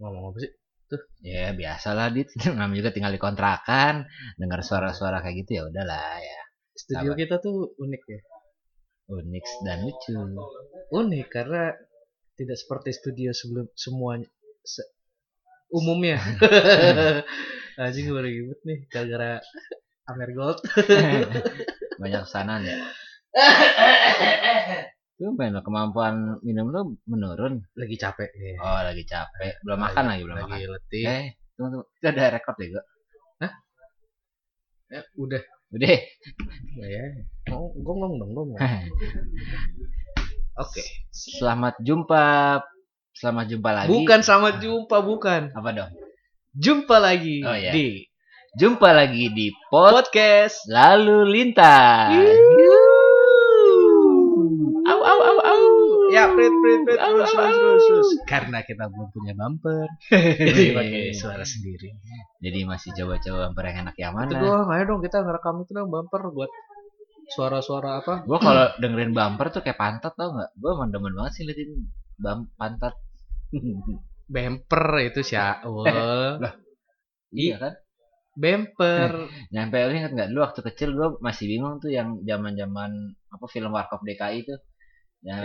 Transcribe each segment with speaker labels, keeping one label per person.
Speaker 1: ngomong apa sih
Speaker 2: Ya biasalah Dit, namanya juga tinggal di kontrakan, dengar suara-suara kayak gitu ya udahlah ya.
Speaker 1: studio
Speaker 2: Apa?
Speaker 1: kita tuh unik ya
Speaker 2: Unik dan lucu.
Speaker 1: unik karena tidak seperti studio sebelum semuanya se- umumnya anjing gue ribut nih gara-gara Amer Gold
Speaker 2: Banyak kesanan ya. Tuh main lo, kemampuan minum lo menurun.
Speaker 1: lagi capek ya.
Speaker 2: Oh lagi capek, belum makan lagi belum
Speaker 1: lagi
Speaker 2: makan.
Speaker 1: letih
Speaker 2: Eh tunggu tunggu, kita ya, ada rekor deh gue.
Speaker 1: Eh, udah
Speaker 2: Udah.
Speaker 1: ya mau gonggong dong gonggong oke
Speaker 2: Selamat jumpa, selamat jumpa lagi.
Speaker 1: bukan selamat jumpa bukan
Speaker 2: Apa dong?
Speaker 1: jumpa lagi
Speaker 2: Oh, iya.
Speaker 1: di
Speaker 2: Jumpa lagi di pot
Speaker 1: podcast
Speaker 2: lalu lintas. Au au au au.
Speaker 1: ya prit prit prit
Speaker 2: Au,
Speaker 1: terus terus
Speaker 2: au, au.
Speaker 1: terus terus. Iya, karena kita belum punya bumper jadi pakai suara sendiri
Speaker 2: Jadi masih coba-coba bumper yang enak yang
Speaker 1: itu
Speaker 2: mana?
Speaker 1: doang ayo dong kita ngerekam itu dong bumper buat suara-suara apa
Speaker 2: Gue kalau dengerin bumper tuh kayak pantat tau nggak? Gue emang demen banget sih liatin bam pantat.
Speaker 1: bumper itu Syaul
Speaker 2: iya kan?
Speaker 1: bumper
Speaker 2: Nyampe lu inget nggak dulu waktu kecil gue masih bingung tuh yang zaman zaman apa film Warkop DKI tuh yang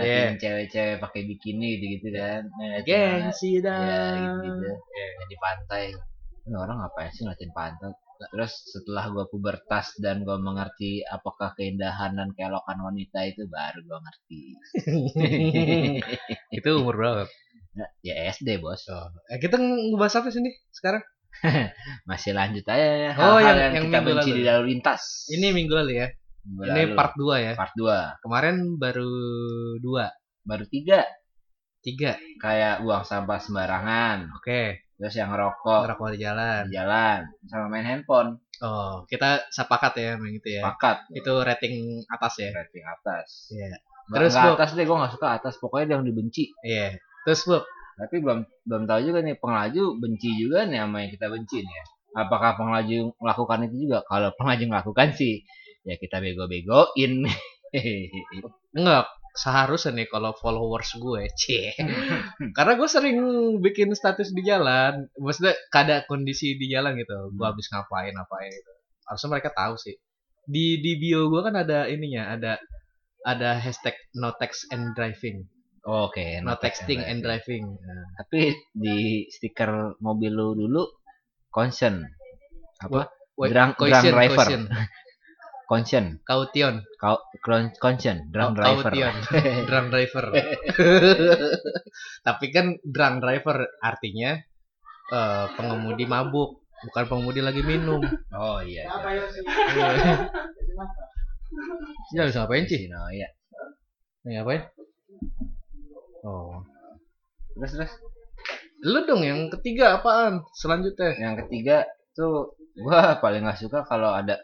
Speaker 1: Iya.
Speaker 2: liatin cewek-cewek pakai bikini gitu-gitu kan? Nah, itu
Speaker 1: gengsi
Speaker 2: ya
Speaker 1: dah
Speaker 2: gitu
Speaker 1: iya,
Speaker 2: yang di pantai ini orang ngapain sih ngeliatin pantai terus setelah gua pubertas dan gua mengerti apakah keindahan dan keelokan wanita itu baru gua ngerti
Speaker 1: ya, gitu. itu umur berapa
Speaker 2: Nah, ya SD bos
Speaker 1: Oh, eh, kita ngebahas apa sih nih sekarang?
Speaker 2: masih lanjut aja ya.
Speaker 1: Oh, yang-
Speaker 2: hal-hal yang,
Speaker 1: yang
Speaker 2: kita
Speaker 1: minggu
Speaker 2: benci
Speaker 1: lalu.
Speaker 2: di lalu lintas
Speaker 1: Ini minggu lalu ya.
Speaker 2: Minggu
Speaker 1: Ini
Speaker 2: lalu.
Speaker 1: part 2 ya.
Speaker 2: part dua
Speaker 1: Kemarin baru 2,
Speaker 2: baru tiga
Speaker 1: 3.
Speaker 2: kayak buang sampah sembarangan
Speaker 1: Oke,
Speaker 2: terus yang ngerokok
Speaker 1: ngerokok di jalan.
Speaker 2: di jalan sama main handphone
Speaker 1: Oh, kita sepakat ya memang itu ya.
Speaker 2: pakat
Speaker 1: Itu rating atas ya.
Speaker 2: rating atas
Speaker 1: Iya. Terus
Speaker 2: terus gak
Speaker 1: gua-
Speaker 2: atas deh gua nggak suka atas pokoknya yang dibenci
Speaker 1: Iya. Terus Bob,
Speaker 2: tapi belum belum tahu juga nih pengelaju benci juga nih sama yang kita benci nih ya. Apakah pengelaju melakukan itu juga? Kalau pengelaju melakukan sih ya kita bego-begoin.
Speaker 1: enggak seharusnya nih kalau followers gue, cie. Karena gue sering bikin status di jalan, maksudnya kada kondisi di jalan gitu. Gue habis ngapain ngapain gitu. Harusnya mereka tahu sih. Di di bio gue kan ada ininya, ada ada hashtag no text and driving,
Speaker 2: Oke,
Speaker 1: no texting and
Speaker 2: drive.
Speaker 1: driving.
Speaker 2: Tapi di stiker mobil lu dulu concern apa?
Speaker 1: Wait,
Speaker 2: Drunk- drunk
Speaker 1: caution,
Speaker 2: driver.
Speaker 1: caution.
Speaker 2: Concern,
Speaker 1: Caution,
Speaker 2: kau kron- concern, drunk
Speaker 1: Kau-
Speaker 2: driver.
Speaker 1: caution. drunk driver. Tapi kan drunk driver artinya eh, pengemudi mabuk, bukan pengemudi lagi minum.
Speaker 2: oh iya. iya.
Speaker 1: Iya, bisa ngapain sih?
Speaker 2: No, iya.
Speaker 1: Nih, ngapain? Oh.
Speaker 2: Terus terus
Speaker 1: Lu dong yang ketiga apaan? Selanjutnya.
Speaker 2: yang ketiga tuh gua paling nggak suka kalau ada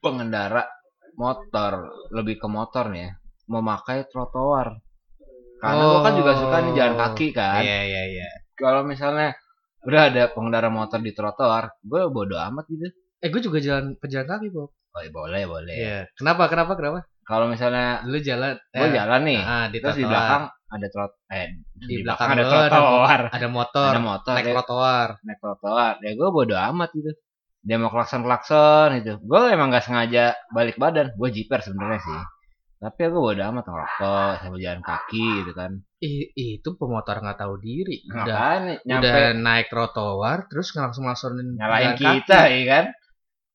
Speaker 2: pengendara motor lebih ke motor nih ya memakai trotoar karena gua kan juga suka nih jalan kaki kan
Speaker 1: Iya, iya, iya.
Speaker 2: kalau misalnya udah ada pengendara motor di trotoar gua bodo amat gitu
Speaker 1: Eh, gue juga jalan pejalan kaki, Bob.
Speaker 2: oh, ya boleh boleh
Speaker 1: Iya. Kenapa? Kenapa? Kenapa?
Speaker 2: kalau misalnya
Speaker 1: Lu jalan
Speaker 2: gua jalan Oh, iya. nih
Speaker 1: Ah, di
Speaker 2: terus di
Speaker 1: trotoar.
Speaker 2: belakang ada trot eh
Speaker 1: Di belakang
Speaker 2: ada
Speaker 1: lu ada
Speaker 2: trotoar
Speaker 1: ada motor,
Speaker 2: ada motor
Speaker 1: naik
Speaker 2: ya.
Speaker 1: trotoar.
Speaker 2: naik trotoar ya gue bodo amat gitu dia mau klakson klakson gitu gue emang gak sengaja balik badan gue jiper sebenarnya sih tapi gue bodo amat ngerokok sama jalan kaki gitu kan
Speaker 1: Ih, itu pemotor nggak tahu diri. Udah,
Speaker 2: ngapain nyampe
Speaker 1: udah naik trotoar terus langsung langsorin
Speaker 2: nyalain kita ya kan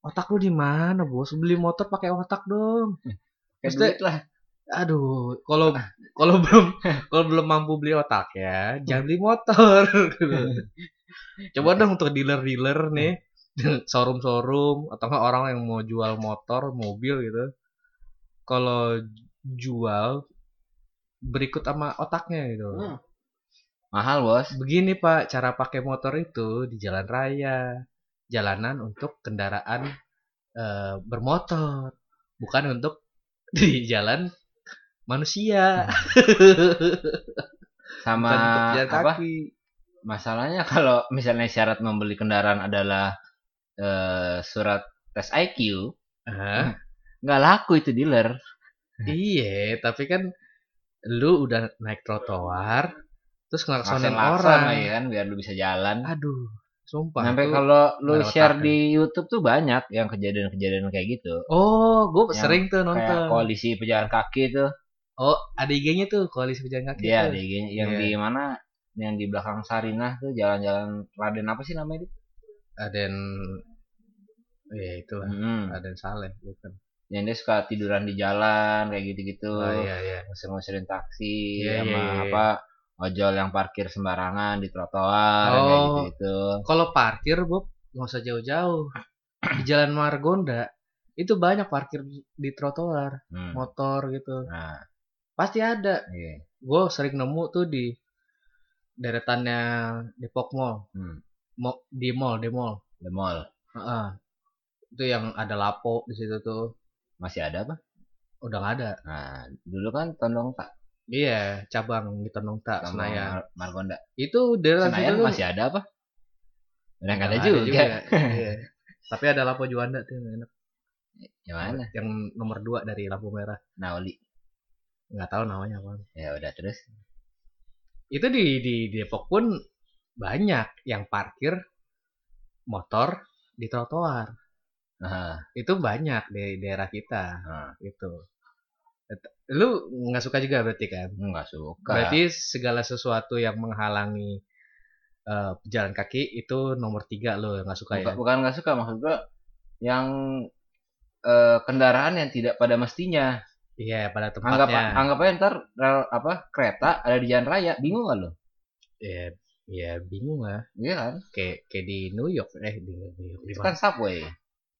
Speaker 1: Otak lu di mana, Bos? Beli motor pakai otak dong.
Speaker 2: Kayak
Speaker 1: Maksudnya-
Speaker 2: duit lah
Speaker 1: Aduh, kalau kalau belum kalau belum mampu beli otak ya, jangan beli motor. Coba dong untuk dealer-dealer nih, showroom-showroom atau nggak orang yang mau jual motor, mobil gitu. Kalau jual berikut sama otaknya gitu.
Speaker 2: Hmm. mahal bos
Speaker 1: Begini Pak, cara pakai motor itu di jalan raya, jalanan untuk kendaraan eh, bermotor, bukan untuk di jalan manusia,
Speaker 2: sama
Speaker 1: bukan untuk jalan
Speaker 2: apa
Speaker 1: kaki.
Speaker 2: masalahnya kalau misalnya syarat membeli kendaraan adalah eh, surat tes IQ
Speaker 1: Hah?
Speaker 2: nggak laku itu dealer
Speaker 1: Iya, tapi kan lu udah naik trotoar, terus ngelaksonin
Speaker 2: Lakson-lakson
Speaker 1: orang
Speaker 2: lagi kan biar lu bisa jalan.
Speaker 1: aduh sumpah
Speaker 2: Sampai
Speaker 1: itu- ya.
Speaker 2: kalau lu
Speaker 1: nggak ada
Speaker 2: share
Speaker 1: otaknya.
Speaker 2: di YouTube tuh banyak yang kejadian-kejadian kayak gitu.
Speaker 1: oh gue
Speaker 2: Yang
Speaker 1: sering tuh
Speaker 2: Kayak
Speaker 1: nonton
Speaker 2: koalisi pejalan kaki tuh.
Speaker 1: oh ada IG-nya tuh koalisi pejalan kaki
Speaker 2: Dia
Speaker 1: tuh.
Speaker 2: ada yang yang
Speaker 1: Iya.
Speaker 2: di mana? Yang di belakang Sarinah tuh jalan-jalan Raden apa sih namanya itu?
Speaker 1: Aden ya itu
Speaker 2: Hmm.
Speaker 1: lah Aden Saleh bukan
Speaker 2: Yang dia suka tiduran di jalan kayak gitu-gitu.
Speaker 1: oh iya iya
Speaker 2: Ngusir-ngusirin taksi
Speaker 1: Iya,
Speaker 2: sama
Speaker 1: iya, iya.
Speaker 2: apa ojol yang parkir sembarangan di trotoar
Speaker 1: Oh.
Speaker 2: kayak gitu-gitu.
Speaker 1: kalau parkir Bob nggak usah jauh-jauh di Jalan Margonda itu banyak parkir di trotoar
Speaker 2: Hmm.
Speaker 1: motor gitu
Speaker 2: Nah,
Speaker 1: pasti ada
Speaker 2: iya.
Speaker 1: gue sering nemu tuh di deretannya Depok Mall
Speaker 2: Hmm.
Speaker 1: Mo- di mall di mall
Speaker 2: The mall
Speaker 1: Heeh. itu yang ada lapo di situ tuh
Speaker 2: masih ada apa?
Speaker 1: udah nggak ada
Speaker 2: Nah, dulu kan Tondong tak
Speaker 1: iya cabang di Tenungta
Speaker 2: sama
Speaker 1: Senayan
Speaker 2: Mar- Margonda.
Speaker 1: itu daerah
Speaker 2: Senayan
Speaker 1: situ tuh
Speaker 2: masih ada apa? Udah nggak ada
Speaker 1: Nggak
Speaker 2: juga.
Speaker 1: Iya. tapi ada lapo Juanda tuh yang enak
Speaker 2: Yang Ya mana?
Speaker 1: yang nomor dua dari lampu merah
Speaker 2: Naoli.
Speaker 1: nggak tahu namanya apa
Speaker 2: Ya udah terus.
Speaker 1: itu di di Depok pun banyak yang parkir motor di trotoar
Speaker 2: Nah,
Speaker 1: itu banyak di daerah kita
Speaker 2: nah,
Speaker 1: gitu lu nggak suka juga berarti kan
Speaker 2: nggak suka.
Speaker 1: Berarti segala sesuatu yang menghalangi eh, pejalan kaki itu nomor tiga lo yang nggak suka ya?
Speaker 2: Buka- bukan nggak suka maksud gua yang eh, kendaraan yang tidak pada mestinya.
Speaker 1: Iya pada
Speaker 2: Anggap
Speaker 1: tempatnya.
Speaker 2: anggap aja ntar rel- apa kereta ada di jalan raya, bingung nggak lo?
Speaker 1: Iya iya, bingung lah.
Speaker 2: Iya kan?
Speaker 1: Kayak kayak di New York eh di New York. di
Speaker 2: Itu
Speaker 1: mana?
Speaker 2: kan subway.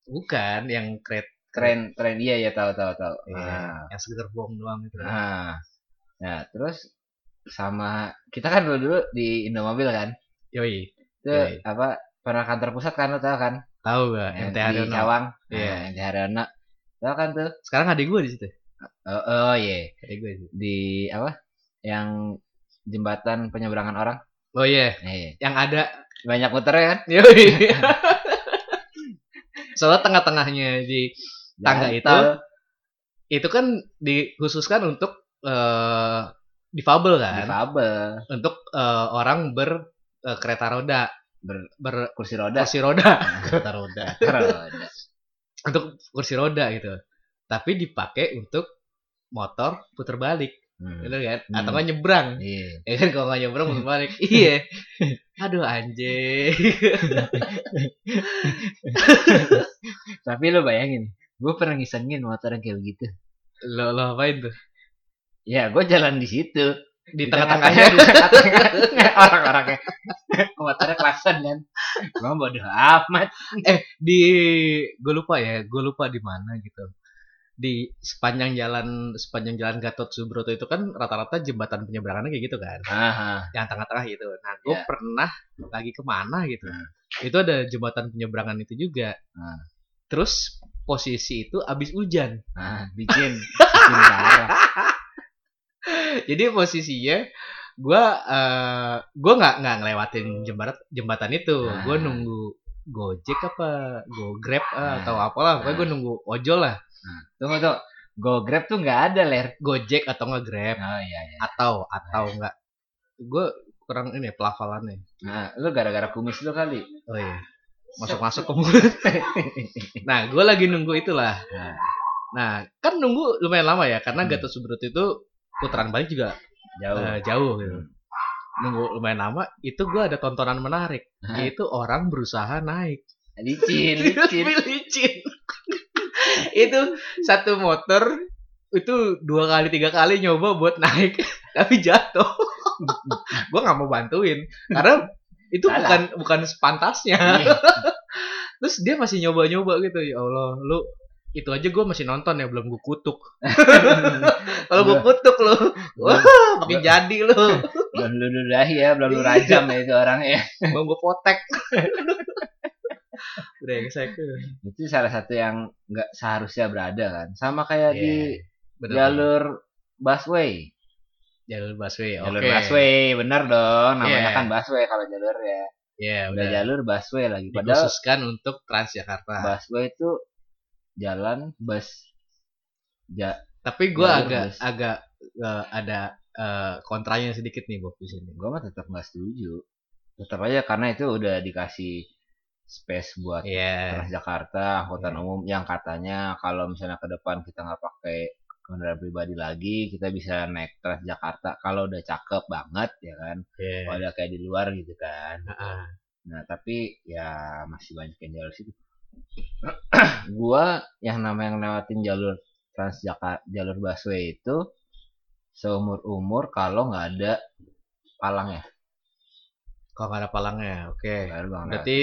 Speaker 1: Bukan yang kret
Speaker 2: Keren keren iya ya tahu tahu tahu.
Speaker 1: iya,
Speaker 2: Nah,
Speaker 1: yang sekedar bohong doang itu.
Speaker 2: Nah, nah terus sama kita kan dulu dulu di Indomobil kan,
Speaker 1: Yoi
Speaker 2: itu
Speaker 1: Iya.
Speaker 2: apa pernah kantor pusat kan lo tau kan?
Speaker 1: tahu gak
Speaker 2: Yang
Speaker 1: MTH
Speaker 2: di
Speaker 1: Dono?
Speaker 2: Cawang,
Speaker 1: Iya.
Speaker 2: Nah, MTH Dono, tau kan tuh?
Speaker 1: Sekarang ada gue di situ.
Speaker 2: Oh, oh iya,
Speaker 1: Ada gue di situ.
Speaker 2: di apa? Yang jembatan penyeberangan orang,
Speaker 1: Oh iya
Speaker 2: Iya.
Speaker 1: yang ada.
Speaker 2: banyak muternya kan?
Speaker 1: Yoi. Soalnya tengah-tengahnya di Tangga
Speaker 2: Jalan
Speaker 1: itu.
Speaker 2: tol.
Speaker 1: itu kan dikhususkan untuk eh difabel kan?
Speaker 2: difabel,
Speaker 1: untuk eh, orang ber eh, kereta roda
Speaker 2: Ber-
Speaker 1: ber
Speaker 2: kursi roda,
Speaker 1: kursi roda kereta roda
Speaker 2: roda.
Speaker 1: untuk kursi roda gitu tapi dipakai untuk motor puter balik
Speaker 2: Hmm,
Speaker 1: gitu kan
Speaker 2: Hmm.
Speaker 1: atau nggak nyebrang
Speaker 2: Iya.
Speaker 1: ya kan kalau nggak nyebrang puter balik iya aduh anjing
Speaker 2: Tapi lo bayangin, gue pernah ngisengin motor yang kayak begitu.
Speaker 1: lo lo apain tuh
Speaker 2: Ya, gue jalan di situ.
Speaker 1: di
Speaker 2: Di
Speaker 1: tengah-tengahnya
Speaker 2: di tengah-tengah orang-orangnya motornya klasen kan emang bodoh amat
Speaker 1: di gue lupa ya gue lupa di mana gitu di sepanjang jalan sepanjang jalan Gatot Subroto itu kan rata-rata jembatan penyeberangannya kayak gitu kan
Speaker 2: ah
Speaker 1: yang tengah-tengah gitu. Nah, gue
Speaker 2: Ya.
Speaker 1: pernah lagi kemana gitu.
Speaker 2: Hmm.
Speaker 1: Itu ada jembatan penyeberangan itu juga.
Speaker 2: Hmm.
Speaker 1: Terus posisi itu abis hujan.
Speaker 2: ah bikin bikin parah
Speaker 1: Jadi posisinya gue eh gue nggak nggak ngelewatin jembatan jembatan itu.
Speaker 2: Hmm.
Speaker 1: Gue nunggu Gojek apa, Go Grab ah,
Speaker 2: Hmm.
Speaker 1: atau apalah, pokoknya gue
Speaker 2: Hmm.
Speaker 1: nunggu ojol lah,
Speaker 2: tunggu tuh go grab tuh nggak ada ler
Speaker 1: Gojek atau nggak Grab
Speaker 2: oh iya iya
Speaker 1: atau atau nggak. Gue kurang ini ya, pelafalannya.
Speaker 2: nah, lu gara-gara kumis lu kali
Speaker 1: Oh
Speaker 2: Nah,
Speaker 1: iya. Masuk-masuk ke mulut. nah, gue lagi nunggu itulah.
Speaker 2: nah,
Speaker 1: Nah, kan nunggu lumayan lama ya karena
Speaker 2: Hmm.
Speaker 1: Gatot Subroto itu putaran balik juga
Speaker 2: jauh
Speaker 1: eh, jauh gitu.
Speaker 2: Hmm.
Speaker 1: Nunggu lumayan lama, itu gua ada tontonan menarik,
Speaker 2: Hah?
Speaker 1: yaitu orang berusaha naik.
Speaker 2: Nah, licin
Speaker 1: Tapi
Speaker 2: licin
Speaker 1: licin. itu satu motor itu dua kali tiga kali nyoba buat naik tapi jatuh. gua nggak mau bantuin karena itu
Speaker 2: Salah.
Speaker 1: bukan bukan sepantasnya.
Speaker 2: Iya.
Speaker 1: Terus dia masih nyoba-nyoba gitu. Ya Allah, lu itu aja gua masih nonton ya belum gue kutuk. Iya. Kalau gue kutuk lu, wah makin
Speaker 2: Gua-
Speaker 1: jadi lu.
Speaker 2: belum lu ludahi ya belum lu rajam ya itu orang ya
Speaker 1: Bang gue potek. Brengsek.
Speaker 2: itu salah satu yang nggak seharusnya berada kan sama kayak di
Speaker 1: Iya. Bener.
Speaker 2: jalur busway
Speaker 1: jalur busway.
Speaker 2: Jalur
Speaker 1: oke.
Speaker 2: busway, bener dong. Namanya
Speaker 1: Iya.
Speaker 2: kan busway kalau jalur ya.
Speaker 1: Iya,
Speaker 2: Udah
Speaker 1: udah.
Speaker 2: jalur busway lagi. Padahal
Speaker 1: Dikhususkan untuk Transjakarta.
Speaker 2: busway itu jalan bus. Ja
Speaker 1: Tapi gue
Speaker 2: Jalur
Speaker 1: agak
Speaker 2: bus.
Speaker 1: agak eh, ada eh, kontranya sedikit nih Bob di sini.
Speaker 2: Gue mah tetap nggak setuju. Tetap aja karena itu udah dikasih space buat
Speaker 1: Iya.
Speaker 2: Transjakarta, angkutan umum yang katanya kalau misalnya ke depan kita nggak pakai kendaraan pribadi lagi, kita bisa naik Transjakarta kalau udah cakep banget ya kan,
Speaker 1: Iya.
Speaker 2: kalau udah kayak di luar gitu kan.
Speaker 1: Heeh.
Speaker 2: Nah tapi ya masih banyak yang jalur situ. gua yang namanya ngelewatin jalur Transjakarta, jalur busway itu seumur umur kalau nggak ada palangnya.
Speaker 1: Kalau nggak ada palangnya, oke.
Speaker 2: Baru gua ngelewatin.
Speaker 1: Berarti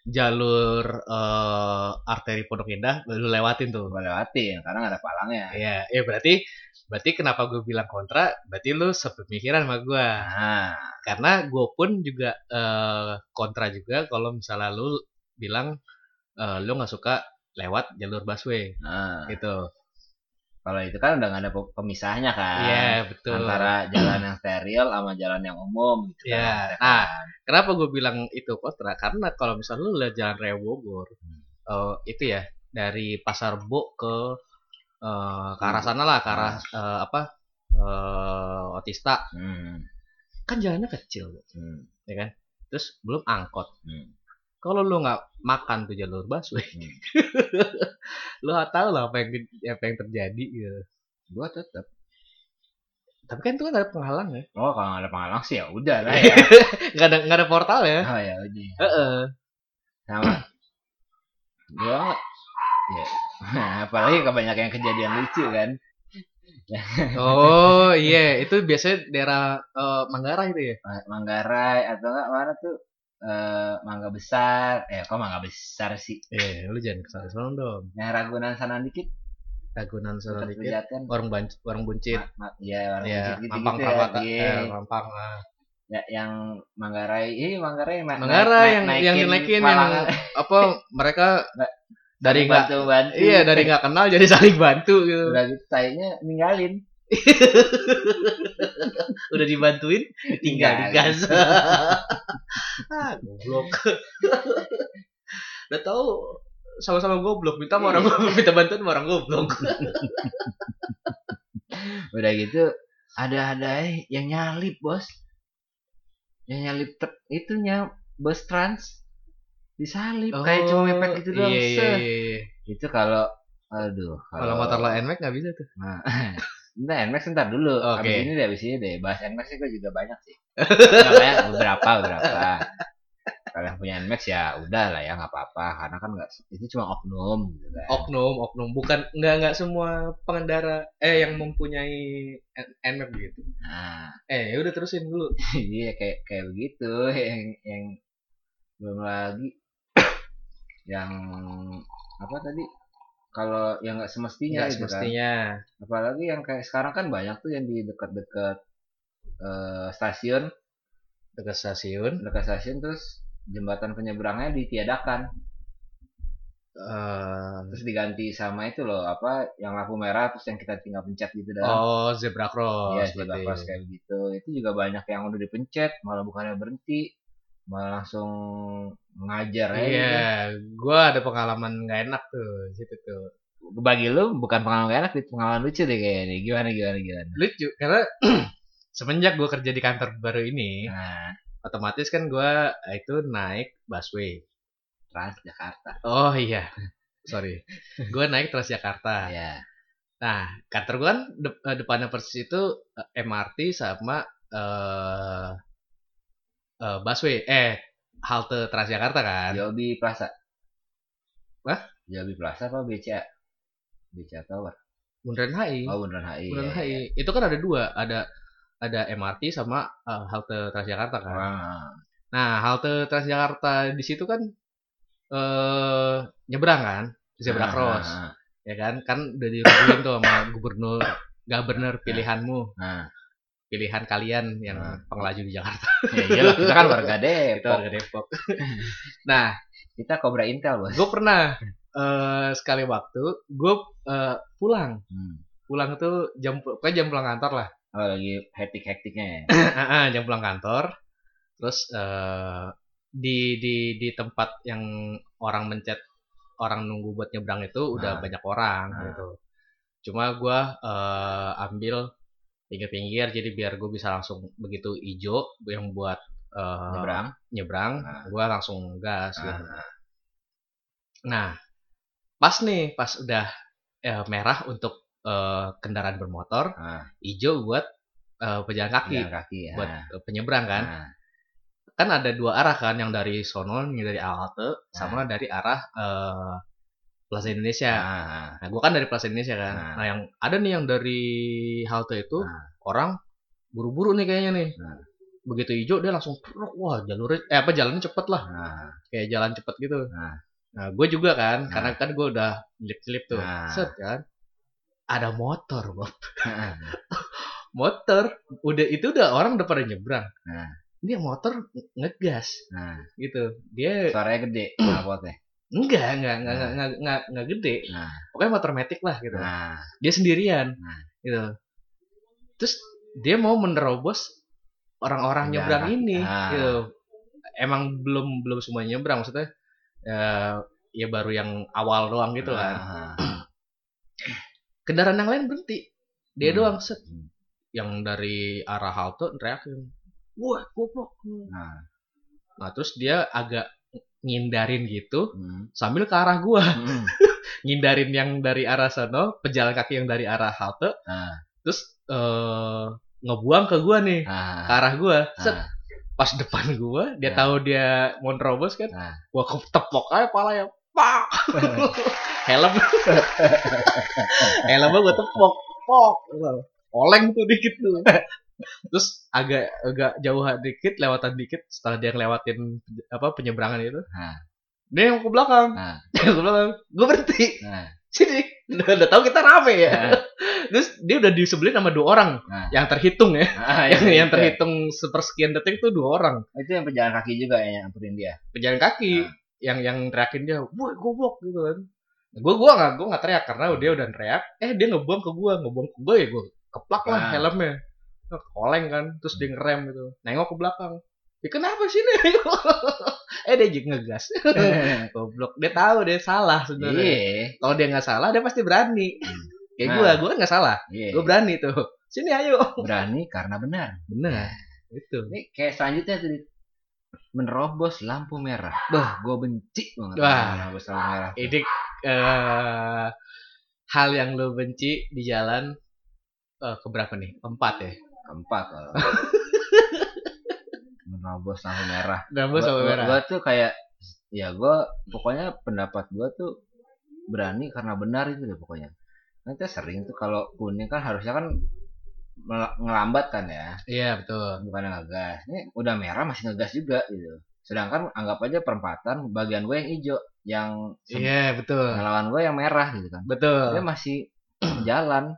Speaker 1: jalur eh, arteri Pondok Indah baru lewatin tuh.
Speaker 2: Gua lewatin karena nggak ada palangnya.
Speaker 1: Iya, ya berarti berarti kenapa gue bilang kontra? Berarti lu sepemikiran sama gue.
Speaker 2: Nah,
Speaker 1: Karena gue pun juga eh, kontra juga kalau misalnya lu bilang eh, lu nggak suka lewat jalur busway
Speaker 2: nah.
Speaker 1: gitu.
Speaker 2: Kalau itu kan udah nggak ada pe- pemisahnya kan.
Speaker 1: Iya, betul.
Speaker 2: Antara jalan yang steril sama jalan yang umum gitu
Speaker 1: Iya.
Speaker 2: kan.
Speaker 1: Nah, Kenapa gue bilang itu kontra? Karena kalau misalnya lu lihat jalan Raya Bogor,
Speaker 2: Hmm.
Speaker 1: eh, itu ya dari Pasar Bo ke eh, ke
Speaker 2: Hmm.
Speaker 1: arah sana lah, ke arah eh, apa eh, Otista,
Speaker 2: Hmm,
Speaker 1: kan jalannya kecil, Bo.
Speaker 2: hmm,
Speaker 1: terus belum angkot.
Speaker 2: hmm,
Speaker 1: Kalau lu nggak makan tuh jalur busway,
Speaker 2: hmm.
Speaker 1: lu nggak tahu lah apa yang apa yang terjadi. Gitu.
Speaker 2: Gua tetep.
Speaker 1: Tapi kan itu kan ada penghalang ya,
Speaker 2: Oh, kalau nggak ada penghalang sih ya udah lah ya.
Speaker 1: nggak ada nggak ada portal ya.
Speaker 2: oh ya udah.
Speaker 1: Heeh.
Speaker 2: Sama. Gua ya. apalagi kebanyakan kejadian lucu kan.
Speaker 1: Oh iya, itu biasanya daerah eh, Manggarai itu ya.
Speaker 2: Ma- Manggarai atau enggak mana tuh eh mangga besar, eh kok mangga besar sih?
Speaker 1: Eh, lu jangan kesana sana dong.
Speaker 2: Yang Ragunan sana dikit,
Speaker 1: Ragunan sana
Speaker 2: Dekat
Speaker 1: dikit.
Speaker 2: Pejaten.
Speaker 1: Warung banc warung buncit.
Speaker 2: Ma- ma- Iya, warung
Speaker 1: ya,
Speaker 2: buncit
Speaker 1: Mampang
Speaker 2: gitu-gitu
Speaker 1: Prawata.
Speaker 2: ya.
Speaker 1: Eh,
Speaker 2: Iya.
Speaker 1: Mampang. ah.
Speaker 2: Ya, yang Manggarai, eh Manggarai, na-
Speaker 1: Manggarai
Speaker 2: naik-
Speaker 1: yang
Speaker 2: naik-
Speaker 1: yang dinaikin yang
Speaker 2: Malang.
Speaker 1: apa mereka
Speaker 2: Nggak-
Speaker 1: dari nggak
Speaker 2: bantu bantu.
Speaker 1: iya dari nggak kenal jadi saling bantu gitu.
Speaker 2: udah gitu tainya ninggalin.
Speaker 1: Udah dibantuin
Speaker 2: Iya,
Speaker 1: tinggal
Speaker 2: Tinggalin.
Speaker 1: digas. ah, goblok. Udah tahu sama-sama goblok minta sama orang minta bantuan sama orang goblok.
Speaker 2: Udah gitu ada-ada eh, yang nyalip, Bos. Yang nyalip ter- itunya bus trans disalip kayak cuma mepet gitu doang.
Speaker 1: Iya iya
Speaker 2: set.
Speaker 1: iya. iya.
Speaker 2: Itu kalau aduh,
Speaker 1: Kalau motor lo NMAX nggak bisa tuh.
Speaker 2: Nah, Ntar Nmax ntar dulu.
Speaker 1: Oke.
Speaker 2: Abis ini deh, abis ini deh. Bahas Nmax sih gue juga banyak sih. Nggak banyak, beberapa, beberapa. Kalau yang punya Nmax ya udah lah ya nggak apa-apa. Karena kan nggak itu cuma oknum gitu kan.
Speaker 1: Oknum, oknum bukan nggak nggak semua pengendara eh yang mempunyai N- NMAX gitu.
Speaker 2: Nah,
Speaker 1: Eh, udah terusin dulu.
Speaker 2: iya kayak kayak begitu yang yang belum lagi yang apa tadi kalau yang nggak semestinya
Speaker 1: Nggak
Speaker 2: gitu kan.
Speaker 1: semestinya.
Speaker 2: apalagi yang kayak sekarang kan banyak tuh yang di dekat-dekat eh, stasiun
Speaker 1: Dekat stasiun.
Speaker 2: dekat stasiun terus jembatan penyeberangnya ditiadakan
Speaker 1: eh,
Speaker 2: terus diganti sama itu loh apa yang lampu merah terus yang kita tinggal pencet gitu dah
Speaker 1: oh, zebra cross. ya.
Speaker 2: Iya,
Speaker 1: berarti.
Speaker 2: zebra cross kayak begitu itu juga banyak yang udah dipencet malah bukannya berhenti malah langsung ngajar aja
Speaker 1: Iya,
Speaker 2: gitu.
Speaker 1: gua ada pengalaman nggak enak tuh di situ tuh.
Speaker 2: gitu. bagi lu bukan pengalaman gak enak pengalaman lucu deh kayaknya nih gimana gimana gimana
Speaker 1: Lucu karena semenjak gua kerja di kantor baru ini,
Speaker 2: nah
Speaker 1: otomatis kan gua eh, itu naik busway.
Speaker 2: Trans Jakarta
Speaker 1: Oh iya. Sorry. gua naik Transjakarta.
Speaker 2: ya
Speaker 1: Nah, kantor gua kan de- eh, depannya persis itu eh, MRT sama eh eh, busway eh halte Transjakarta kan.
Speaker 2: Jobi Plaza
Speaker 1: Wah?
Speaker 2: Jobi Plaza apa BCA BCA Tower
Speaker 1: Bundaran HI.
Speaker 2: oh beneran HI
Speaker 1: Bundaran
Speaker 2: ya,
Speaker 1: HI.
Speaker 2: ya.
Speaker 1: Itu kan ada dua, ada ada MRT sama eh, halte Transjakarta kan.
Speaker 2: Ah.
Speaker 1: Nah, halte Transjakarta di situ kan eh nyebrang kan, zebra
Speaker 2: Ah,
Speaker 1: cross,
Speaker 2: ah, ah.
Speaker 1: ya kan? Kan udah dirugiin tuh sama gubernur
Speaker 2: Ah,
Speaker 1: gubernur pilihanmu,
Speaker 2: Nah,
Speaker 1: pilihan kalian yang
Speaker 2: Ah.
Speaker 1: pengelaju di Jakarta
Speaker 2: ya iyalah kita kan warga
Speaker 1: itu
Speaker 2: Depok.
Speaker 1: warga Depok. nah,
Speaker 2: Kita Cobra Intel, Bos.
Speaker 1: gue pernah eh sekali waktu gue pulang,
Speaker 2: Hmm.
Speaker 1: pulang tuh jam pokoknya jam pulang kantor lah.
Speaker 2: Oh, lagi hektik-hektiknya ya.
Speaker 1: Ah, ah, jam pulang kantor terus eh di di di tempat yang orang mencet orang nunggu buat nyebrang itu udah gitu.
Speaker 2: Ah.
Speaker 1: banyak orang
Speaker 2: Ah.
Speaker 1: gitu cuma gua eh, ambil pinggir-pinggir jadi biar gue bisa langsung begitu ijo yang buat eh,
Speaker 2: nyebrang
Speaker 1: nyebrang,
Speaker 2: Ah.
Speaker 1: gue langsung gas gitu.
Speaker 2: Ah,
Speaker 1: Nah, pas nih, pas udah eh, merah untuk eh, kendaraan bermotor,
Speaker 2: Ah.
Speaker 1: hijau buat eh, pejalan kaki,
Speaker 2: jalan kaki ya.
Speaker 1: buat eh, penyeberang kan.
Speaker 2: Ah,
Speaker 1: Kan ada dua arah kan, yang dari sono, yang dari halte, sama dari arah eh, Plaza Indonesia.
Speaker 2: ah, ah.
Speaker 1: Nah, gue kan dari Plaza Indonesia kan.
Speaker 2: Nah.
Speaker 1: Nah, yang ada nih yang dari halte itu
Speaker 2: Nah.
Speaker 1: orang buru-buru nih kayaknya nih.
Speaker 2: Nah.
Speaker 1: Begitu hijau dia langsung truk, wah jalurnya eh apa jalannya cepet lah,
Speaker 2: Ah,
Speaker 1: kayak jalan cepet gitu.
Speaker 2: Nah.
Speaker 1: Nah, gue juga kan,
Speaker 2: Nah.
Speaker 1: karena kan gue udah nyelip-nyelip tuh.
Speaker 2: Nah.
Speaker 1: Set kan. Ada motor, Bob.
Speaker 2: ah.
Speaker 1: Motor udah itu udah orang udah pada nyebrang.
Speaker 2: Nah.
Speaker 1: Ini yang motor nge- ngegas
Speaker 2: Nah,
Speaker 1: gitu. Dia
Speaker 2: suaranya gede knalpotnya.
Speaker 1: enggak, enggak, enggak,
Speaker 2: Nah.
Speaker 1: enggak, enggak, enggak, enggak gede.
Speaker 2: Nah.
Speaker 1: Pokoknya motor metik lah gitu.
Speaker 2: Nah,
Speaker 1: dia sendirian
Speaker 2: Nah.
Speaker 1: gitu terus dia mau menerobos orang-orang
Speaker 2: Jalan
Speaker 1: nyebrang
Speaker 2: kaki.
Speaker 1: ini
Speaker 2: Ah.
Speaker 1: gitu emang belum belum semuanya nyebrang maksudnya eh, ya baru yang awal doang gitu kan
Speaker 2: ah,
Speaker 1: kendaraan yang lain berhenti dia
Speaker 2: Hmm.
Speaker 1: doang set
Speaker 2: Hmm.
Speaker 1: yang dari arah halte teriakin wah goblok
Speaker 2: Nah.
Speaker 1: nah terus dia agak ngindarin gitu
Speaker 2: Hmm.
Speaker 1: sambil ke arah gua
Speaker 2: Hmm.
Speaker 1: ngindarin yang dari arah sana pejalan kaki yang dari arah halte
Speaker 2: Ah,
Speaker 1: terus eh, ngebuang ke gua nih
Speaker 2: ah,
Speaker 1: ke arah gua set
Speaker 2: ah.
Speaker 1: pas depan gua dia
Speaker 2: Ya.
Speaker 1: tahu dia mau nerobos kan
Speaker 2: Nah.
Speaker 1: gua ke tepok aja palanya pak helm helmnya gua tepok pok oleng tuh dikit tuh terus agak agak jauhan dikit lewatan dikit setelah dia ngelewatin apa penyeberangan itu
Speaker 2: Nah.
Speaker 1: dia yang ke belakang
Speaker 2: Nah.
Speaker 1: dia yang ke belakang gua berhenti
Speaker 2: Nah.
Speaker 1: sini udah, udah tahu kita rame ya
Speaker 2: Nah.
Speaker 1: terus dia udah disebelin sama dua orang
Speaker 2: Nah.
Speaker 1: yang terhitung ya
Speaker 2: Ah,
Speaker 1: yang,
Speaker 2: itu,
Speaker 1: yang
Speaker 2: itu.
Speaker 1: terhitung sepersekian detik tuh dua orang
Speaker 2: Itu yang pejalan kaki juga yang nyamperin dia.
Speaker 1: pejalan kaki
Speaker 2: Nah.
Speaker 1: yang yang teriakin dia, "Woi, goblok" gitu kan. Gue gua nggak gua nggak teriak karena dia udah teriak, eh dia ngebuang ke gua, ngebuang ke gua ya gua keplak lah
Speaker 2: Nah.
Speaker 1: helmnya. Nah, Koleng kan, terus dia ngerem gitu. Nengok ke belakang. Ya kenapa sih nih? eh dia juga ngegas. goblok. Dia tahu dia salah sebenarnya.
Speaker 2: Iya.
Speaker 1: Kalau dia nggak salah, dia pasti berani. Kayak
Speaker 2: Nah.
Speaker 1: gua, gua kan nggak salah.
Speaker 2: Iya.
Speaker 1: Gua berani tuh. Sini ayo.
Speaker 2: Berani karena benar.
Speaker 1: Bener. Itu.
Speaker 2: Ini kayak selanjutnya tadi menerobos lampu merah. Bah, gue benci banget
Speaker 1: Wah.
Speaker 2: sama menerobos lampu merah.
Speaker 1: Ini eh hal yang lo benci di jalan eh keberapa nih? Empat ya.
Speaker 2: Keempat kalau menerobos lampu merah.
Speaker 1: Nambah sama merah.
Speaker 2: Gue tuh kayak ya gue pokoknya pendapat gue tuh berani karena benar itu deh pokoknya. Nanti sering tuh kalau kuning kan harusnya kan mel- ngelambat kan ya.
Speaker 1: Iya betul.
Speaker 2: bukan ngegas ini udah merah masih ngegas juga gitu sedangkan anggap aja perempatan bagian gue yang hijau yang
Speaker 1: Iya
Speaker 2: sem-
Speaker 1: betul.
Speaker 2: lawan gue yang merah gitu kan
Speaker 1: Betul.
Speaker 2: dia masih jalan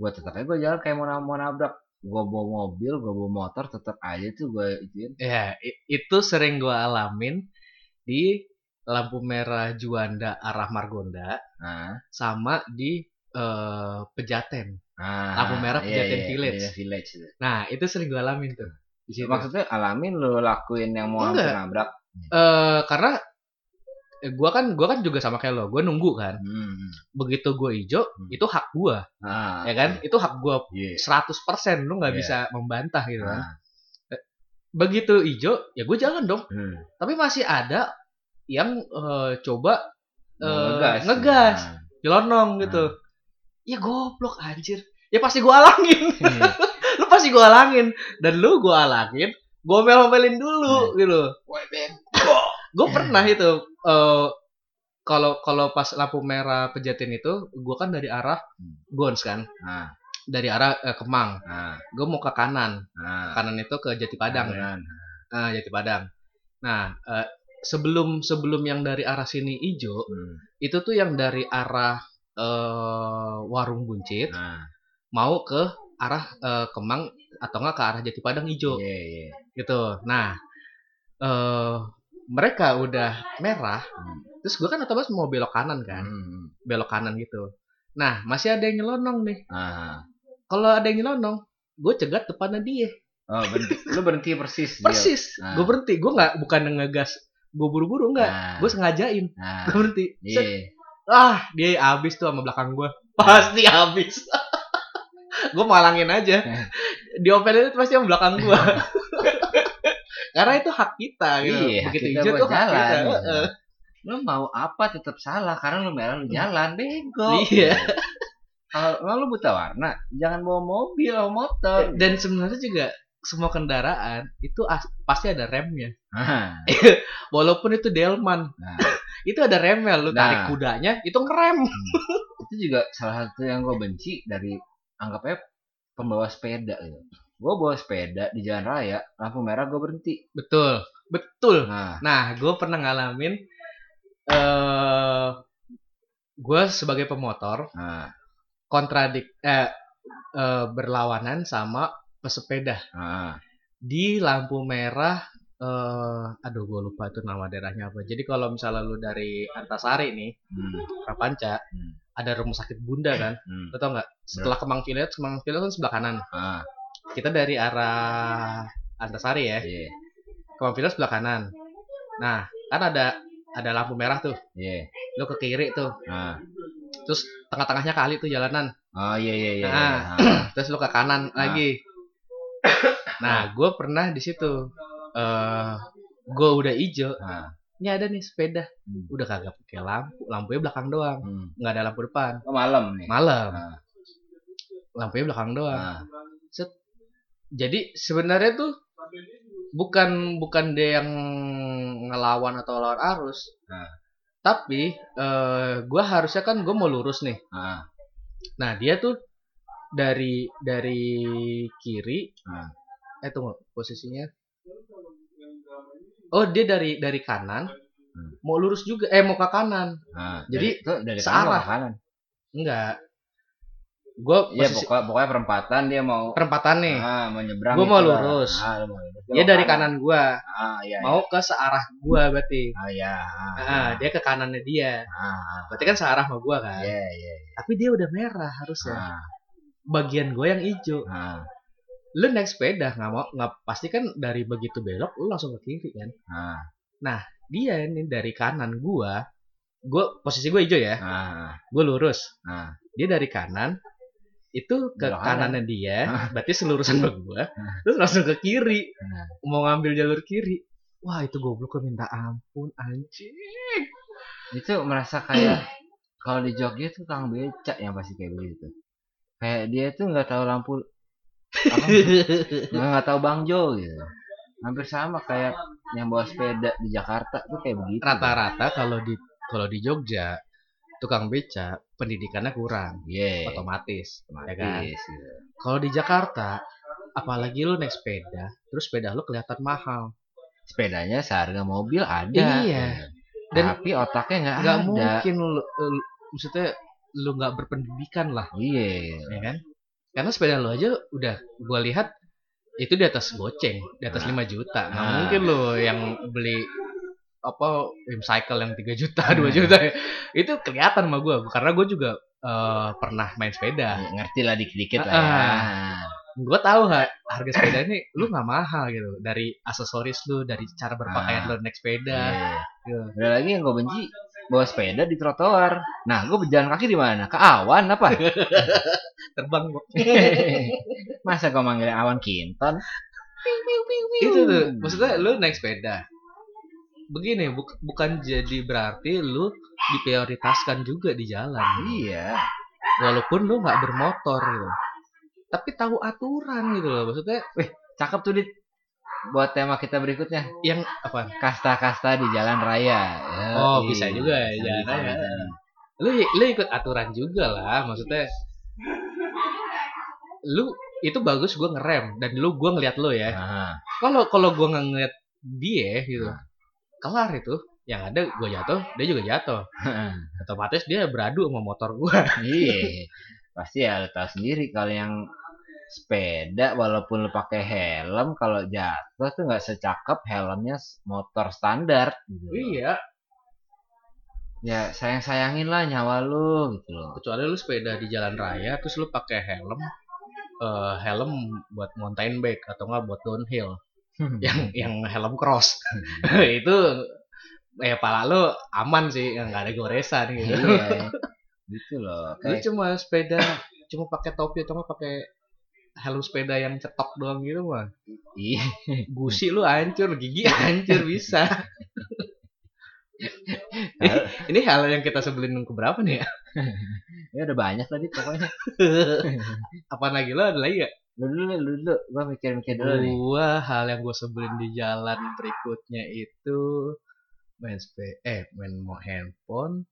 Speaker 2: gue tetap aja gue jalan kayak mau, na- mau nabrak gue bawa mobil gue bawa motor tetap aja tuh gue ituin
Speaker 1: Ya i- itu sering gua alamin di lampu merah Juanda arah Margonda
Speaker 2: nah
Speaker 1: sama di eh, Pejaten.
Speaker 2: nah
Speaker 1: Lampu merah Pejaten Village.
Speaker 2: iya, village gitu.
Speaker 1: Nah itu sering gua alamin tuh. Di situ.
Speaker 2: maksudnya alamin lo lakuin yang mau
Speaker 1: Enggak.
Speaker 2: hampir nabrak
Speaker 1: Eh, karena eh, gua kan gua kan juga sama kayak lo. Gua nunggu kan.
Speaker 2: hmm.
Speaker 1: Begitu gua ijo itu hak gua,
Speaker 2: ah,
Speaker 1: ya kan? Itu hak gua
Speaker 2: Hmm. iya
Speaker 1: 100% lu nggak
Speaker 2: Iya.
Speaker 1: bisa membantah gitu kan.
Speaker 2: Ah,
Speaker 1: Begitu ijo, ya gue jalan dong.
Speaker 2: hmm.
Speaker 1: Tapi masih ada yang eh, coba
Speaker 2: Mau
Speaker 1: Eh,
Speaker 2: ngegas, Ah.
Speaker 1: ngegas.
Speaker 2: Nah.
Speaker 1: jelonong gitu. Ya goblok anjir. Ya pasti gue alangin.
Speaker 2: Iya.
Speaker 1: lu pasti gue alangin dan lu gue alangin, gue omel-omelin
Speaker 2: Iya.
Speaker 1: dulu gitu.
Speaker 2: Woi, Ben.
Speaker 1: Gue pernah
Speaker 2: Iya.
Speaker 1: itu eh, kalau kalau pas lampu merah pejatin itu, gue kan dari arah
Speaker 2: Hmm.
Speaker 1: Gons kan,
Speaker 2: nah
Speaker 1: dari arah eh, Kemang.
Speaker 2: nah
Speaker 1: Gue mau ke kanan,
Speaker 2: nah
Speaker 1: Ke kanan itu ke Jati Padang ya.
Speaker 2: Beneran.
Speaker 1: Nah, Jati Padang. Nah, eh, sebelum sebelum yang dari arah sini ijo,
Speaker 2: Hmm.
Speaker 1: itu tuh yang dari arah eh, warung buncit
Speaker 2: Nah,
Speaker 1: mau ke arah eh, Kemang atau enggak ke arah Jati Padang ijo
Speaker 2: iya, iya.
Speaker 1: gitu. Nah, eh mereka udah merah,
Speaker 2: Hmm.
Speaker 1: terus gue kan otomatis mau belok kanan kan,
Speaker 2: Hmm.
Speaker 1: belok kanan gitu. Nah, masih ada yang nyelonong nih.
Speaker 2: Ah.
Speaker 1: Kalau ada yang nyelonong, gue cegat depannya dia.
Speaker 2: Oh, berhenti. Lu berhenti persis. Gio.
Speaker 1: Persis,
Speaker 2: Ah.
Speaker 1: gue berhenti. Gue nggak bukan ngegas, gue buru-buru nggak.
Speaker 2: Nah,
Speaker 1: Gue sengajain,
Speaker 2: nah,
Speaker 1: gue berhenti. Ah,
Speaker 2: iya.
Speaker 1: Set. Ah, dia habis tuh sama belakang gue. Pasti habis. gue malangin aja diomelin itu pasti yang belakang gue karena itu hak kita gitu
Speaker 2: Iya,
Speaker 1: begitu
Speaker 2: kita
Speaker 1: hijau
Speaker 2: buat
Speaker 1: tuh hak
Speaker 2: jalan. ya.
Speaker 1: kita Heeh.
Speaker 2: lu mau apa tetap salah karena lu merah lu jalan bego Gitu.
Speaker 1: Iya.
Speaker 2: kalau lu buta warna jangan bawa mobil bawa motor
Speaker 1: dan sebenarnya juga semua kendaraan itu as- pasti ada remnya
Speaker 2: Nah,
Speaker 1: walaupun itu delman
Speaker 2: Nah.
Speaker 1: itu ada remnya lu tarik
Speaker 2: Nah.
Speaker 1: kudanya itu ngerem
Speaker 2: itu juga salah satu yang gue benci dari anggapnya pembawa sepeda gitu. Gue bawa sepeda di jalan raya, lampu merah gue berhenti.
Speaker 1: betul betul
Speaker 2: Nah,
Speaker 1: Nah, gue pernah ngalamin eh gue sebagai pemotor
Speaker 2: nah,
Speaker 1: kontradik eh, eh, berlawanan sama pesepeda
Speaker 2: nah.
Speaker 1: di lampu merah eh aduh gue lupa itu nama daerahnya apa. Jadi kalau misalnya lu dari Antasari nih,
Speaker 2: Hmm,
Speaker 1: Prapanca,
Speaker 2: Hmm.
Speaker 1: ada rumah sakit Bunda kan?
Speaker 2: hmm,
Speaker 1: Lo tau nggak? Setelah Kemang Village, Kemang Village kan sebelah kanan.
Speaker 2: ah,
Speaker 1: Kita dari arah Antasari ya,
Speaker 2: iya,
Speaker 1: Kemang Village sebelah kanan. Nah, kan ada ada lampu merah tuh,
Speaker 2: iya,
Speaker 1: lo ke kiri tuh.
Speaker 2: ah,
Speaker 1: terus tengah-tengahnya kali tuh jalanan
Speaker 2: oh iya iya iya,
Speaker 1: Nah.
Speaker 2: iya, ah,
Speaker 1: terus lu ke kanan
Speaker 2: Ah.
Speaker 1: lagi nah gue pernah di situ eh gue udah ijo
Speaker 2: ah,
Speaker 1: ini ada nih sepeda
Speaker 2: Hmm.
Speaker 1: udah kagak pakai lampu lampunya belakang doang
Speaker 2: hmm.
Speaker 1: nggak ada lampu depan
Speaker 2: Oh, malam nih.
Speaker 1: malam
Speaker 2: Ah,
Speaker 1: lampunya belakang doang
Speaker 2: ah,
Speaker 1: jadi sebenarnya tuh bukan bukan dia yang ngelawan atau lawan arus
Speaker 2: Ah.
Speaker 1: tapi eh gue harusnya kan gue mau lurus nih
Speaker 2: ah,
Speaker 1: Nah dia tuh dari dari kiri.
Speaker 2: Ah.
Speaker 1: Eh tunggu posisinya. Oh dia dari dari kanan.
Speaker 2: Hmm.
Speaker 1: Mau lurus juga. Eh mau ke kanan.
Speaker 2: ah.
Speaker 1: Jadi,
Speaker 2: Dari- itu dari
Speaker 1: searah.
Speaker 2: kanan ke kanan.
Speaker 1: Enggak. Gue
Speaker 2: Iya,
Speaker 1: posisi
Speaker 2: pokoknya, pokoknya perempatan dia mau
Speaker 1: perempatan nih.
Speaker 2: ah, mau nyebrang.
Speaker 1: Gua mau
Speaker 2: gitu lah.
Speaker 1: lurus.
Speaker 2: Ah, lu mau lurus. Dia
Speaker 1: Dia
Speaker 2: mau
Speaker 1: dari kanan gua
Speaker 2: Ah, iya. iya.
Speaker 1: Mau ke searah gua berarti.
Speaker 2: Ah, iya. Ah,
Speaker 1: Ah, dia ke kanannya dia.
Speaker 2: ah, ah.
Speaker 1: Berarti kan searah sama gua kan.
Speaker 2: Iya, iya.
Speaker 1: Tapi dia udah merah harusnya.
Speaker 2: Ah,
Speaker 1: Bagian gua yang hijau.
Speaker 2: ah,
Speaker 1: Lu naik sepeda nggak mau nggak pasti kan dari begitu belok lu langsung ke kiri kan.
Speaker 2: ah,
Speaker 1: dia ini dari kanan gua gua posisi gua hijau ya
Speaker 2: ah.
Speaker 1: gua lurus
Speaker 2: Ah.
Speaker 1: dia dari kanan itu ke
Speaker 2: Belok kanan.
Speaker 1: kanannya dia berarti selurusan sama gua terus langsung ke kiri
Speaker 2: Ah.
Speaker 1: mau ngambil jalur kiri wah itu goblok gua minta ampun anjing
Speaker 2: itu merasa kayak kalau di Jogja tuh tukang becak yang pasti kayak begitu kayak dia tuh nggak tahu lampu apa, nggak nggak tahu bang Jo gitu hampir sama kayak yang bawa sepeda di Jakarta tuh kayak begitu
Speaker 1: rata-rata kalau di kalau di Jogja tukang beca pendidikannya kurang
Speaker 2: Iya.
Speaker 1: otomatis ya kan?
Speaker 2: otomatis gitu.
Speaker 1: kalau di Jakarta apalagi lu naik sepeda terus sepeda lu kelihatan mahal
Speaker 2: sepedanya seharga mobil
Speaker 1: Iya.
Speaker 2: ada gitu.
Speaker 1: Dan-
Speaker 2: tapi otaknya nggak
Speaker 1: nggak
Speaker 2: ada
Speaker 1: mungkin lu, lu- maksudnya lu nggak berpendidikan lah
Speaker 2: iya
Speaker 1: ya kan karena sepeda lu aja udah gua lihat itu di atas goceng di atas 5
Speaker 2: Nah.
Speaker 1: juta nggak
Speaker 2: Nah.
Speaker 1: mungkin lo yang beli apa rim cycle yang 3 juta 2
Speaker 2: Nah.
Speaker 1: juta itu kelihatan sama gua karena gua juga eh, pernah main sepeda
Speaker 2: Ya, ngerti lah dikit-dikit lah
Speaker 1: Ah,
Speaker 2: ya.
Speaker 1: gua tahu ha, harga sepeda ini lu nggak mahal gitu dari aksesoris lu dari cara berpakaian lu naik sepeda
Speaker 2: Iya.
Speaker 1: Iya.
Speaker 2: Ada lagi yang gue benci bawa sepeda di trotoar. Nah, gue berjalan kaki di mana? Ke awan apa?
Speaker 1: terbang gua.
Speaker 2: Masa kau manggil awan kinton?
Speaker 1: itu tuh maksudnya lu naik sepeda begini buk- bukan jadi berarti lu diprioritaskan juga di jalan
Speaker 2: Iya.
Speaker 1: walaupun lu nggak bermotor gitu tapi tahu aturan gitu loh maksudnya
Speaker 2: Cakep tuh dit. Buat tema kita berikutnya,
Speaker 1: yang apa
Speaker 2: kasta-kasta di jalan raya. Ya,
Speaker 1: Oh,
Speaker 2: iya.
Speaker 1: bisa juga ya, jalan
Speaker 2: Bisa,
Speaker 1: raya.
Speaker 2: bisa.
Speaker 1: lu lu ikut aturan juga lah maksudnya lu itu bagus gua ngerem dan lu gua ngeliat lu ya
Speaker 2: Ah,
Speaker 1: kalau kalau gua nggak ngeliat dia gitu
Speaker 2: Nah.
Speaker 1: kelar itu yang ada gua jatuh dia juga jatuh otomatis dia beradu sama motor gua
Speaker 2: Iya. Pasti ya lu tahu sendiri kalau yang sepeda walaupun lu pakai helm kalau jatuh tuh nggak secakep helmnya motor standar gitu.
Speaker 1: Iya,
Speaker 2: ya sayang sayangin lah nyawa lu gitu loh
Speaker 1: kecuali lu sepeda di jalan raya terus lu pakai helm eh, helm buat mountain bike atau enggak buat downhill yang yang helm cross itu eh pala lu aman sih nggak ada goresan gitu
Speaker 2: Iya. gitu loh
Speaker 1: lu
Speaker 2: kayak
Speaker 1: cuma sepeda cuma pakai topi atau nggak pakai helm sepeda yang cetok doang gitu mah
Speaker 2: Iya.
Speaker 1: gusi lu hancur gigi hancur bisa
Speaker 2: Kalau-
Speaker 1: ini hal yang kita sebelin yang keberapa nih ya
Speaker 2: Ya udah banyak tadi pokoknya.
Speaker 1: apaan lagi lo ada lagi gak?
Speaker 2: Lu dulu, lu dulu. Gua mikir-mikir dulu nih.
Speaker 1: gua hal yang gua sebelin di jalan berikutnya itu main sp eh main mau handphone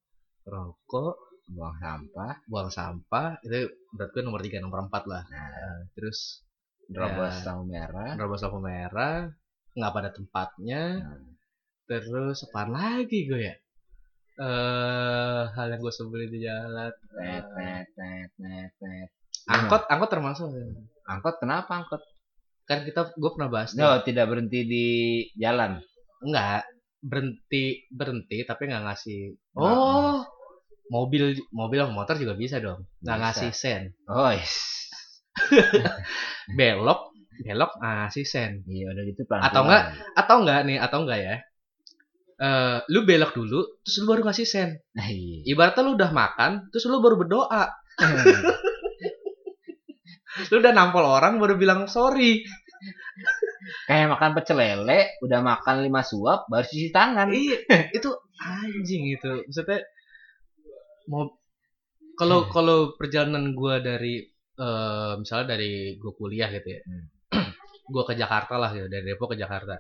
Speaker 1: rokok
Speaker 2: Buang sampah,
Speaker 1: buang sampah itu menurut gue nomor tiga nomor empat lah Eh, terus
Speaker 2: nerobos
Speaker 1: Ya.
Speaker 2: lampu merah.
Speaker 1: nerobos lampu merah nggak pada tempatnya terus apaan lagi gue ya eh hal yang gue sebelin di jalan
Speaker 2: Tet, tet, tet, tet, tet.
Speaker 1: angkot angkot termasuk nggak?
Speaker 2: Angkot kenapa angkot?
Speaker 1: kan kita gue pernah bahas tuh.
Speaker 2: No, tidak berhenti di jalan.
Speaker 1: nggak berhenti berhenti tapi nggak ngasih
Speaker 2: Nah,
Speaker 1: oh mobil mobil sama motor juga bisa dong nggak
Speaker 2: Bisa.
Speaker 1: ngasih sen
Speaker 2: Oh, is.
Speaker 1: belok belok ngasih sen
Speaker 2: iya udah gitu pelan
Speaker 1: Atau enggak? atau enggak nih atau enggak ya Eh, lu belok dulu terus lu baru ngasih sen
Speaker 2: Nah, iya.
Speaker 1: ibaratnya lu udah makan terus lu baru berdoa lu udah nampol orang baru bilang sorry
Speaker 2: Kayak makan pecel lele, udah makan lima suap, baru cuci tangan.
Speaker 1: iya itu anjing itu maksudnya mau kalau
Speaker 2: Hmm.
Speaker 1: kalau perjalanan gua dari eh, misalnya dari gua kuliah gitu ya
Speaker 2: Hmm.
Speaker 1: gua ke Jakarta lah gitu dari Depok ke Jakarta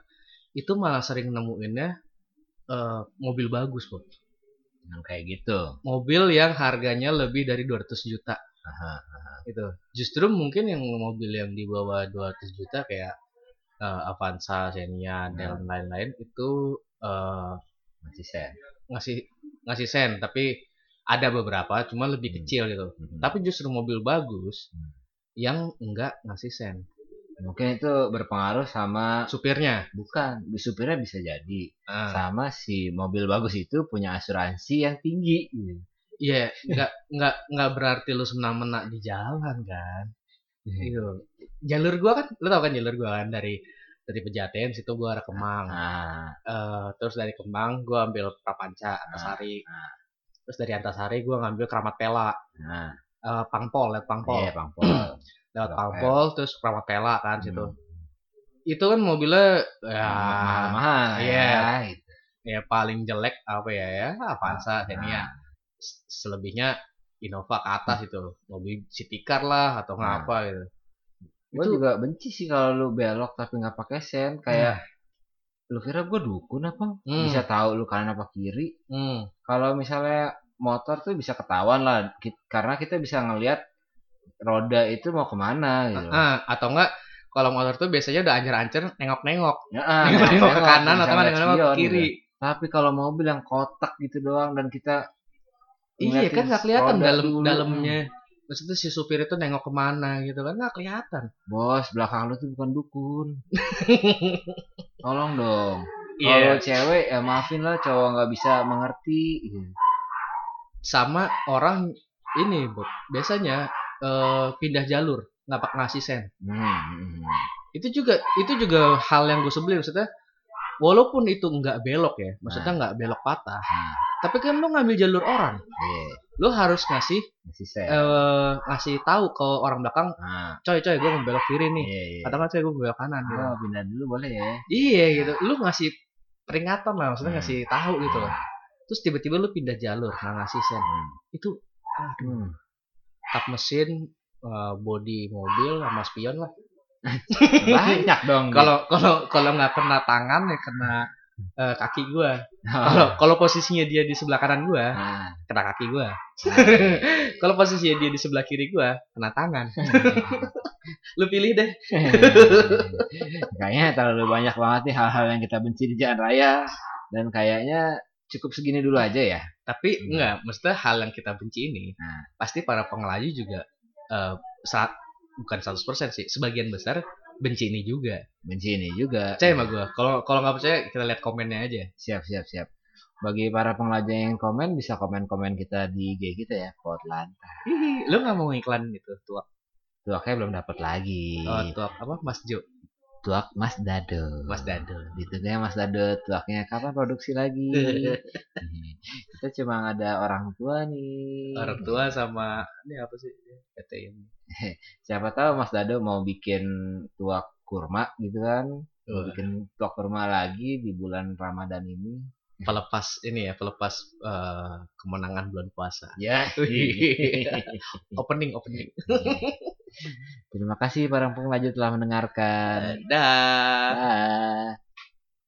Speaker 1: itu malah sering nemuinnya eh, mobil bagus kok
Speaker 2: Yang kayak gitu.
Speaker 1: mobil yang harganya lebih dari 200 juta
Speaker 2: Aha,
Speaker 1: itu justru mungkin yang mobil yang di bawah 200 juta kayak eh, Avanza, Xenia
Speaker 2: Nah.
Speaker 1: dan lain-lain itu eh,
Speaker 2: Masih sen.
Speaker 1: ngasih ngasih sen tapi ada beberapa cuma lebih
Speaker 2: Hmm.
Speaker 1: kecil gitu tapi justru mobil bagus
Speaker 2: Hmm.
Speaker 1: yang enggak ngasih sen
Speaker 2: mungkin itu berpengaruh sama
Speaker 1: supirnya
Speaker 2: bukan supirnya bisa jadi
Speaker 1: Ah,
Speaker 2: sama si mobil bagus itu punya asuransi yang tinggi gitu.
Speaker 1: iya enggak enggak enggak berarti lu semena-mena di jalan kan
Speaker 2: Hmm.
Speaker 1: gitu jalur gua kan lu tau kan jalur gua kan dari dari Pejaten situ gua arah Kemang
Speaker 2: Nah,
Speaker 1: Eh, terus dari Kemang gua ambil Prapanca Antasari
Speaker 2: Ah,
Speaker 1: terus dari Antasari gua ngambil Kramat Tela
Speaker 2: nah,
Speaker 1: eh, Pangpol lewat Pangpol
Speaker 2: iya, Bang Pol.
Speaker 1: lewat
Speaker 2: Kramat
Speaker 1: Pangpol terus Kramat Tela kan situ
Speaker 2: Hmm.
Speaker 1: itu kan mobilnya ya,
Speaker 2: mahal-mahal
Speaker 1: Iya.
Speaker 2: ya. gitu.
Speaker 1: ya paling jelek apa ya ya
Speaker 2: Nah.
Speaker 1: Avanza Xenia Se- selebihnya Innova ke atas itu mobil city car lah atau nggak
Speaker 2: Nah.
Speaker 1: apa gitu
Speaker 2: Gue
Speaker 1: Itu-
Speaker 2: juga benci sih kalau lu belok tapi nggak pakai
Speaker 1: Nah.
Speaker 2: sen. Kayak lu kira gue dukun apa?
Speaker 1: Hmm.
Speaker 2: Bisa tahu lu kanan apa kiri.
Speaker 1: hmm.
Speaker 2: Kalau misalnya motor tuh bisa ketahuan lah, ki- karena kita bisa ngelihat roda itu mau kemana gitu.
Speaker 1: Ah, atau enggak kalau motor tuh biasanya udah ancer-ancer nengok-nengok
Speaker 2: Ya,
Speaker 1: nengok-nengok ke
Speaker 2: nengok,
Speaker 1: Iya, kanan
Speaker 2: bisa
Speaker 1: atau nggak
Speaker 2: ngeliat
Speaker 1: nengok-nengok
Speaker 2: spion,
Speaker 1: ke kiri
Speaker 2: gitu. Tapi kalau mobil yang kotak gitu doang dan kita
Speaker 1: iya
Speaker 2: ngeliatin
Speaker 1: kan nggak kelihatan
Speaker 2: roda
Speaker 1: dalam
Speaker 2: dulu.
Speaker 1: dalamnya maksudnya si supir itu nengok kemana gitu kan nggak kelihatan
Speaker 2: Bos, belakang lu tuh bukan dukun. Tolong dong.
Speaker 1: Iya.
Speaker 2: Kalau cewek ya maafin lah cowok nggak bisa mengerti.
Speaker 1: sama orang ini Bob. biasanya eh, pindah jalur nggak pakai ngasih sen
Speaker 2: Hmm.
Speaker 1: itu juga itu juga hal yang gue sebelin maksudnya walaupun itu nggak belok ya maksudnya nggak belok patah
Speaker 2: Hmm.
Speaker 1: tapi kan lu ngambil jalur orang
Speaker 2: Iya,
Speaker 1: lu harus ngasih
Speaker 2: masih sen.
Speaker 1: eh, ngasih tahu ke orang belakang
Speaker 2: Nah,
Speaker 1: coy coy gue mau belok kiri nih
Speaker 2: iya, iya.
Speaker 1: atau nggak coy gue belok kanan gitu.
Speaker 2: Oh, pindah dulu boleh ya.
Speaker 1: iya gitu lu ngasih peringatan lah maksudnya
Speaker 2: Hmm.
Speaker 1: ngasih tahu gitu loh terus tiba-tiba lu pindah jalur nggak ngasih sen
Speaker 2: Hmm.
Speaker 1: itu aduh
Speaker 2: Hmm.
Speaker 1: kap mesin eh, bodi mobil sama spion lah
Speaker 2: Banyak dong.
Speaker 1: kalau kalau kalau nggak kena tangan ya kena eh, kaki gua kalau
Speaker 2: Kalau
Speaker 1: kalau posisinya dia di sebelah kanan gua
Speaker 2: nah,
Speaker 1: kena kaki gua
Speaker 2: nah.
Speaker 1: kalau posisinya dia di sebelah kiri gua kena tangan lu pilih deh
Speaker 2: kayaknya terlalu banyak banget nih hal-hal yang kita benci di jalan raya dan kayaknya cukup segini dulu aja ya.
Speaker 1: tapi
Speaker 2: Hmm.
Speaker 1: enggak maksudnya hal yang kita benci ini
Speaker 2: Nah.
Speaker 1: pasti para pengelaju juga eh saat bukan 100% sih sebagian besar benci ini juga
Speaker 2: Benci ini juga.
Speaker 1: percaya sama gua kalau kalau nggak percaya kita lihat komennya aja
Speaker 2: Siap, siap, siap. Bagi para pengelajah yang komen bisa komen-komen kita di IG kita ya, Potlan.
Speaker 1: Hihi, lu nggak mau iklan gitu tuak
Speaker 2: Tuaknya belum dapat lagi.
Speaker 1: oh, tuak apa Mas Jo
Speaker 2: Tuak Mas Dado.
Speaker 1: Mas Dado
Speaker 2: Ditunggunya Mas Dado, tuaknya kapan produksi lagi? kita cuma ada orang tua nih. Hmm.
Speaker 1: orang tua sama ini apa sih Nggak PT ini.
Speaker 2: Siapa tahu Mas Dado mau bikin tuak kurma gitu kan. Mau
Speaker 1: Wah,
Speaker 2: bikin tuak kurma lagi di bulan Ramadan ini.
Speaker 1: Pelepas ini ya, pelepas eh, kemenangan bulan puasa.
Speaker 2: Ya.
Speaker 1: Opening, opening.
Speaker 2: Terima kasih para pengunjung telah mendengarkan.
Speaker 1: Dah.
Speaker 2: Bye.